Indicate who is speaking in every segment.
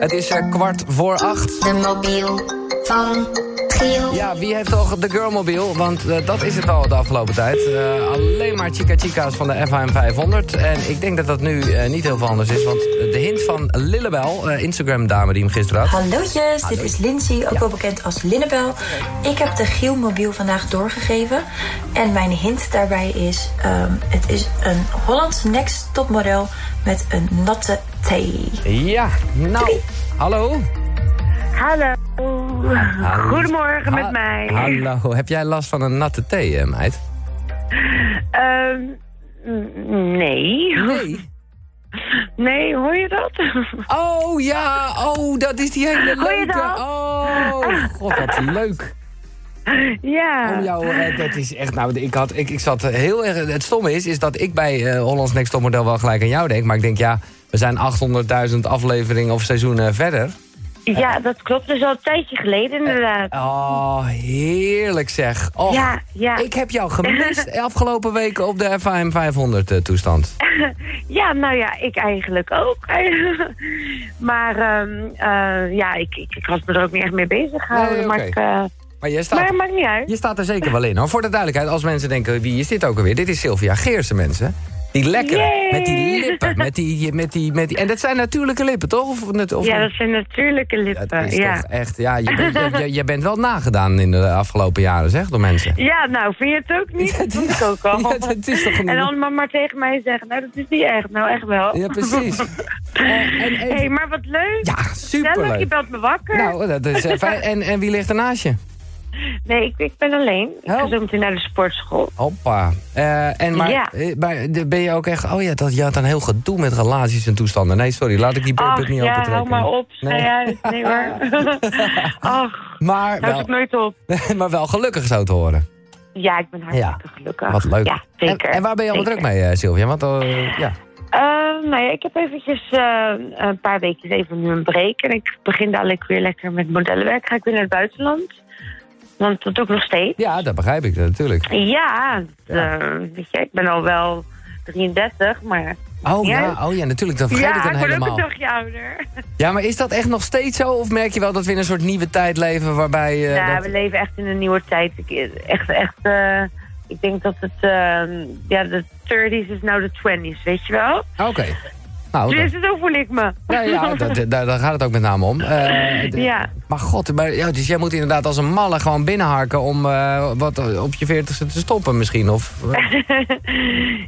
Speaker 1: Het is eh, kwart voor acht.
Speaker 2: De mobiel van Giel.
Speaker 1: Ja, wie heeft toch de Girlmobile? Want eh, dat is het al de afgelopen tijd. Eh, alleen maar Chica Chica's van de FHM 500. En ik denk dat dat nu eh, niet heel veel anders is. Want de hint van Lillebel, eh, Instagram-dame die hem gisteren had.
Speaker 3: Hallootjes, dit is Lindsay, ook wel bekend als Linnebel. Ik heb de Gielmobiel vandaag doorgegeven. En mijn hint daarbij is... ehm, het is een Hollands Next topmodel met een natte thee.
Speaker 1: Ja, nou. Hallo.
Speaker 4: Hallo. Goedemorgen
Speaker 1: Ha-
Speaker 4: met mij.
Speaker 1: Hallo. Heb jij last van een natte thee, eh, meid?
Speaker 4: Ehm, n- nee.
Speaker 1: Nee.
Speaker 4: Nee, hoor je dat?
Speaker 1: Oh ja, oh, dat is die hele
Speaker 4: Hoor je
Speaker 1: leuke.
Speaker 4: dat?
Speaker 1: Oh, god, wat leuk.
Speaker 4: ja.
Speaker 1: Om jou, eh, dat is echt, nou, ik, had, ik, ik zat eh, heel erg, het stomme is, is dat ik bij eh, Hollands Next Top Model wel gelijk aan jou denk. Maar ik denk, ja, we zijn 800.000 afleveringen of seizoenen eh, verder. eh,
Speaker 4: ja, dat klopt. Dat is al een tijdje geleden inderdaad.
Speaker 1: Oh, heerlijk zeg. Oh,
Speaker 4: Ja, ja.
Speaker 1: Ik heb jou gemist afgelopen weken op de FIM 500 eh, toestand.
Speaker 4: Ja, nou ja, ik eigenlijk ook. maar ehm, eh, ja, ik, ik, ik was me er ook niet echt mee bezig gehouden.
Speaker 1: Nee,
Speaker 4: Maar,
Speaker 1: oké.
Speaker 4: ik, eh,
Speaker 1: Maar jij staat,
Speaker 4: maar het maakt niet uit.
Speaker 1: je staat er zeker wel in hoor. Voor de duidelijkheid, als mensen denken, wie is dit ook alweer? Dit is Sylvia Geersen, mensen. Die lekker,
Speaker 4: Yay!
Speaker 1: met die lippen, met die, met die, met die... En dat zijn natuurlijke lippen, toch? Of, net- of
Speaker 4: Ja, dat zijn natuurlijke lippen.
Speaker 1: Dat is
Speaker 4: Eh, ja.
Speaker 1: toch echt, ja, je, bent- je, je, je bent wel nagedaan in de afgelopen jaren, zeg, door mensen.
Speaker 4: Ja, nou, vind je het ook niet? Dat vond ik ook al.
Speaker 1: Ja, dat is toch een-
Speaker 4: En dan maar, maar tegen mij zeggen, nou, dat is niet echt. Nou, echt wel.
Speaker 1: Ja, precies. Eh, en
Speaker 4: Hé,
Speaker 1: even-
Speaker 4: hey, maar wat leuk.
Speaker 1: ja,
Speaker 4: Zellig, je
Speaker 1: superleuk.
Speaker 4: belt me wakker.
Speaker 1: Nou, dat is eh, fijn. En, en wie ligt ernaast je?
Speaker 4: Nee, ik, ik ben alleen. Ik ga
Speaker 1: Oh.
Speaker 4: zo meteen naar de sportschool.
Speaker 1: Hoppa. Eh, en maar,
Speaker 4: Ja.
Speaker 1: eh, bij- de- ben je ook echt... Oh ja, dat, je had dan heel gedoe met relaties en toestanden. Nee, sorry, laat ik die
Speaker 4: Ach,
Speaker 1: pulpit niet
Speaker 4: ja,
Speaker 1: opentrekken.
Speaker 4: hou maar op. Nee,
Speaker 1: Nee.
Speaker 4: uit. nee hoor. Ach,
Speaker 1: Maar
Speaker 4: houdt
Speaker 1: wel,
Speaker 4: het nooit op.
Speaker 1: maar wel gelukkig zo te horen.
Speaker 4: Ja, ik ben hartstikke gelukkig.
Speaker 1: Wat leuk.
Speaker 4: Ja, zeker.
Speaker 1: En, en waar ben je allemaal
Speaker 4: Zeker.
Speaker 1: druk mee, eh, Sylvia? Want eh, ja,
Speaker 4: Ehm, nou ja, ik heb eventjes eh, een paar weken even nu een break. En ik begin dadelijk weer lekker met modellenwerk. Ga ik weer naar het buitenland. Want dat doe ik nog steeds.
Speaker 1: ja, dat begrijp ik eh, natuurlijk.
Speaker 4: Ja, eh, weet je, ik ben al wel 33, maar...
Speaker 1: Oh
Speaker 4: Ja.
Speaker 1: ja, oh, ja natuurlijk, dan vergeet
Speaker 4: ja,
Speaker 1: ik dan
Speaker 4: ik word ook
Speaker 1: helemaal.
Speaker 4: een dagje ouder.
Speaker 1: Ja, maar is dat echt nog steeds zo? Of merk je wel dat we in een soort nieuwe tijd leven waarbij... eh,
Speaker 4: ja,
Speaker 1: dat-
Speaker 4: we leven echt in een nieuwe tijd. Ik, echt, echt, eh, ik denk dat het... eh, ja, de 30s is nou de 20s, weet je wel?
Speaker 1: Ah, Oké. Nou,
Speaker 4: Dus
Speaker 1: Oh, dat-
Speaker 4: zo voel ik me.
Speaker 1: ja, ja dat- dat- daar, daar gaat het ook met name om. Eh, d-
Speaker 4: Ja.
Speaker 1: Maar god, maar, ja, dus jij moet inderdaad als een malle gewoon binnenharken om eh, wat op je veertigste te stoppen misschien. Of, eh,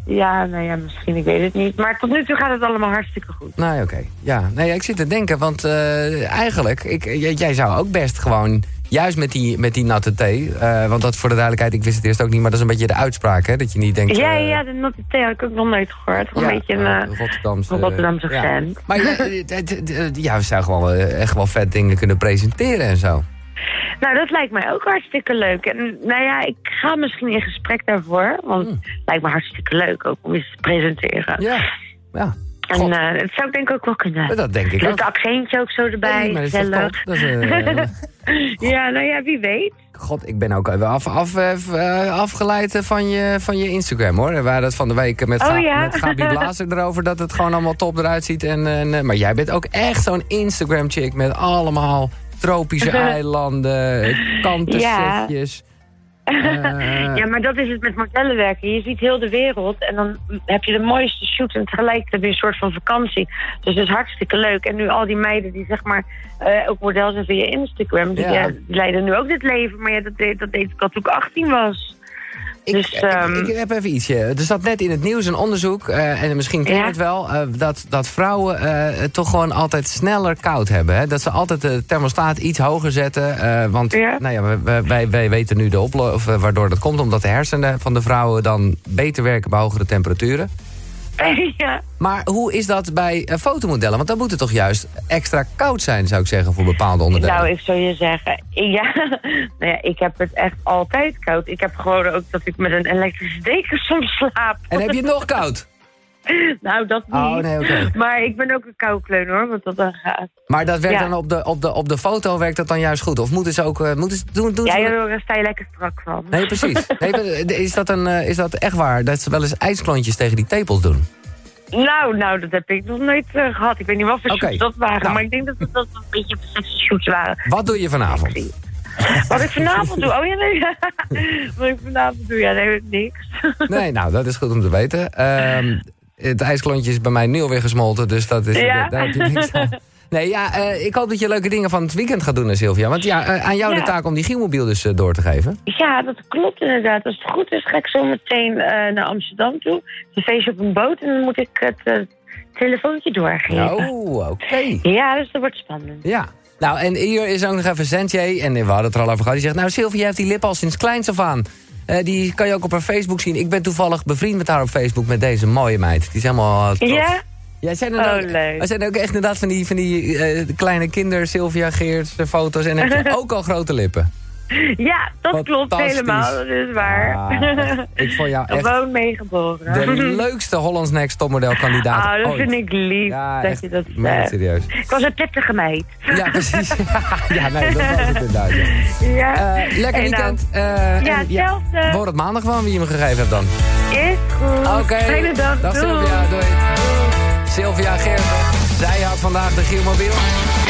Speaker 4: ja, nou ja, misschien, ik weet het niet. Maar tot nu toe gaat het allemaal hartstikke goed.
Speaker 1: nou ja, oké. Ja, nee, ik zit te denken, want eh, eigenlijk, ik, j- jij zou ook best gewoon... Juist met die, met die natte thee, eh, want dat voor de duidelijkheid, ik wist het eerst ook niet, maar dat is een beetje de uitspraak, hè? Dat je niet denkt...
Speaker 4: Ja,
Speaker 1: eh,
Speaker 4: ja, de natte thee had ik ook nog nooit gehoord. Gewoon een beetje een...
Speaker 1: eh,
Speaker 4: eh,
Speaker 1: Rotterdamse, eh,
Speaker 4: een Rotterdamse
Speaker 1: ja.
Speaker 4: fan.
Speaker 1: Maar ja, het- het- het- het- ja, we zouden gewoon wel, eh, echt wel vet dingen kunnen presenteren en zo.
Speaker 4: Nou, dat lijkt mij ook hartstikke leuk. En nou ja, ik ga misschien in gesprek daarvoor. Want het lijkt me hartstikke leuk ook om iets te presenteren.
Speaker 1: Hmm. Ja, ja.
Speaker 4: en
Speaker 1: God,
Speaker 4: eh, dat zou ik denk ik ook wel kunnen.
Speaker 1: dat denk ik
Speaker 4: Met het
Speaker 1: ook.
Speaker 4: accentje ook zo erbij.
Speaker 1: Nee, maar dat is toch
Speaker 4: gezellig.
Speaker 1: top? Dat is, eh,
Speaker 4: ja, nou ja, wie weet.
Speaker 1: God, ik ben ook even af, af, eh, afgeleid eh, van je, van je Instagram, hoor. We waren dat van de week met,
Speaker 4: Oh,
Speaker 1: Ga-
Speaker 4: ja.
Speaker 1: met Gabi Blazer erover... dat het gewoon allemaal top eruit ziet. En, en, eh, maar jij bent ook echt zo'n Instagram-chick... met allemaal tropische eilanden, eh, kantensetjes. Eh,
Speaker 4: Ja, maar dat is het met modellen werken. Je ziet heel de wereld en dan heb je de mooiste shoot en tegelijk heb je een soort van vakantie. Dus dat is hartstikke leuk. En nu al die meiden die zeg maar eh, ook model zijn via Instagram, die,
Speaker 1: Ja.
Speaker 4: ja, die leiden nu ook dit leven. Maar ja, dat deed, dat deed ik al toen ik 18 was.
Speaker 1: Ik,
Speaker 4: Dus,
Speaker 1: ik-
Speaker 4: ehm,
Speaker 1: ik, heb even ietsje. Er zat net in het nieuws een onderzoek, eh, en misschien ken je
Speaker 4: Ja?
Speaker 1: het wel, eh, dat, dat vrouwen eh, het toch gewoon altijd sneller koud hebben. Hè? Dat ze altijd de thermostaat iets hoger zetten. eh, want
Speaker 4: Ja.
Speaker 1: nou ja, we- we- wij, wij weten nu de oplo- of, eh, waardoor dat komt, omdat de hersenen van de vrouwen dan beter werken bij hogere temperaturen.
Speaker 4: ja.
Speaker 1: Maar hoe is dat bij eh, fotomodellen? Want dan moet het toch juist extra koud zijn, zou ik zeggen, voor bepaalde onderdelen.
Speaker 4: Nou, ik zou je zeggen, ja, nou ja, ik heb het echt altijd koud. Ik heb gewoon ook dat ik met een elektrische deken soms slaap.
Speaker 1: En heb je het nog koud?
Speaker 4: Nou, dat niet.
Speaker 1: Oh, nee, oké.
Speaker 4: Maar ik ben ook een koukleun hoor, want dat dan gaat.
Speaker 1: Maar dat werkt
Speaker 4: Ja.
Speaker 1: dan op de, op, de, op de foto werkt dat dan juist goed? Of moeten ze ook... eh, moeten ze, doen, doen ze
Speaker 4: Ja,
Speaker 1: dat-
Speaker 4: joh, daar sta je lekker strak van.
Speaker 1: Nee, precies. Nee, maar, eh, is, dat een, eh, is dat echt waar dat ze wel eens ijsklontjes tegen die tepels doen?
Speaker 4: Nou, nou, dat heb ik nog nooit eh, gehad. Ik weet niet wat voor
Speaker 1: Oké.
Speaker 4: shoots dat waren,
Speaker 1: Nou.
Speaker 4: maar ik denk dat het dat een beetje sexy shoots waren.
Speaker 1: Wat doe je vanavond?
Speaker 4: Wat ik vanavond doe, oh ja, nee. wat ik vanavond doe, ja, nee, niks.
Speaker 1: Nee, nou, dat is goed om te weten. Ehm, het ijsklontje is bij mij nu alweer gesmolten, dus dat is,
Speaker 4: Ja.
Speaker 1: daar heb je niks aan. Nee, ja, eh, ik hoop dat je leuke dingen van het weekend gaat doen, hè, Sylvia. Want ja, eh, aan jou de
Speaker 4: Ja.
Speaker 1: taak om die gielmobiel dus eh, door te geven.
Speaker 4: Ja, dat klopt inderdaad. Als het goed is, ga ik zo meteen eh, naar Amsterdam toe. Het is een feestje op een boot en dan moet ik het eh, telefoontje doorgeven.
Speaker 1: Oh, oké.
Speaker 4: Ja, dus dat wordt spannend.
Speaker 1: Ja. Nou, en hier is ook nog even Sentje. En we hadden het er al over gehad. Die zegt, nou Sylvia heeft die lip al sinds kleins af aan. Eh, die kan je ook op haar Facebook zien. Ik ben toevallig bevriend met haar op Facebook met deze mooie meid. Die is helemaal eh, trots.
Speaker 4: Ja?
Speaker 1: Ja, zijn er,
Speaker 4: Oh,
Speaker 1: ook,
Speaker 4: leuk.
Speaker 1: er zijn ook echt inderdaad van die, van die eh, kleine kinder, Sylvia Geerts, eh, foto's. En heeft ze ook al grote lippen.
Speaker 4: Ja, dat klopt
Speaker 1: Fantastisch.
Speaker 4: helemaal. Dat is waar.
Speaker 1: Ah, ik vond jou echt
Speaker 4: Gewoon meegeboren.
Speaker 1: de leukste Hollands Next topmodel kandidaat
Speaker 4: Ah, Oh. dat
Speaker 1: ooit.
Speaker 4: vind ik lief
Speaker 1: ja,
Speaker 4: dat
Speaker 1: echt,
Speaker 4: je dat
Speaker 1: meen het
Speaker 4: zegt.
Speaker 1: serieus.
Speaker 4: Ik was een prettige meid.
Speaker 1: Ja, precies. ja, nee, dat was het inderdaad. ja.
Speaker 4: Ja.
Speaker 1: Eh, lekker
Speaker 4: En dan-
Speaker 1: weekend. eh,
Speaker 4: Ja,
Speaker 1: en,
Speaker 4: hetzelfde.
Speaker 1: Wordt het maandag gewoon wie je me gegeven hebt dan.
Speaker 4: Is goed.
Speaker 1: Oké.
Speaker 4: Fijne dag.
Speaker 1: Dag
Speaker 4: doei.
Speaker 1: Sylvia, doei. Sylvia Geert. Zij had vandaag de Gielmobiel.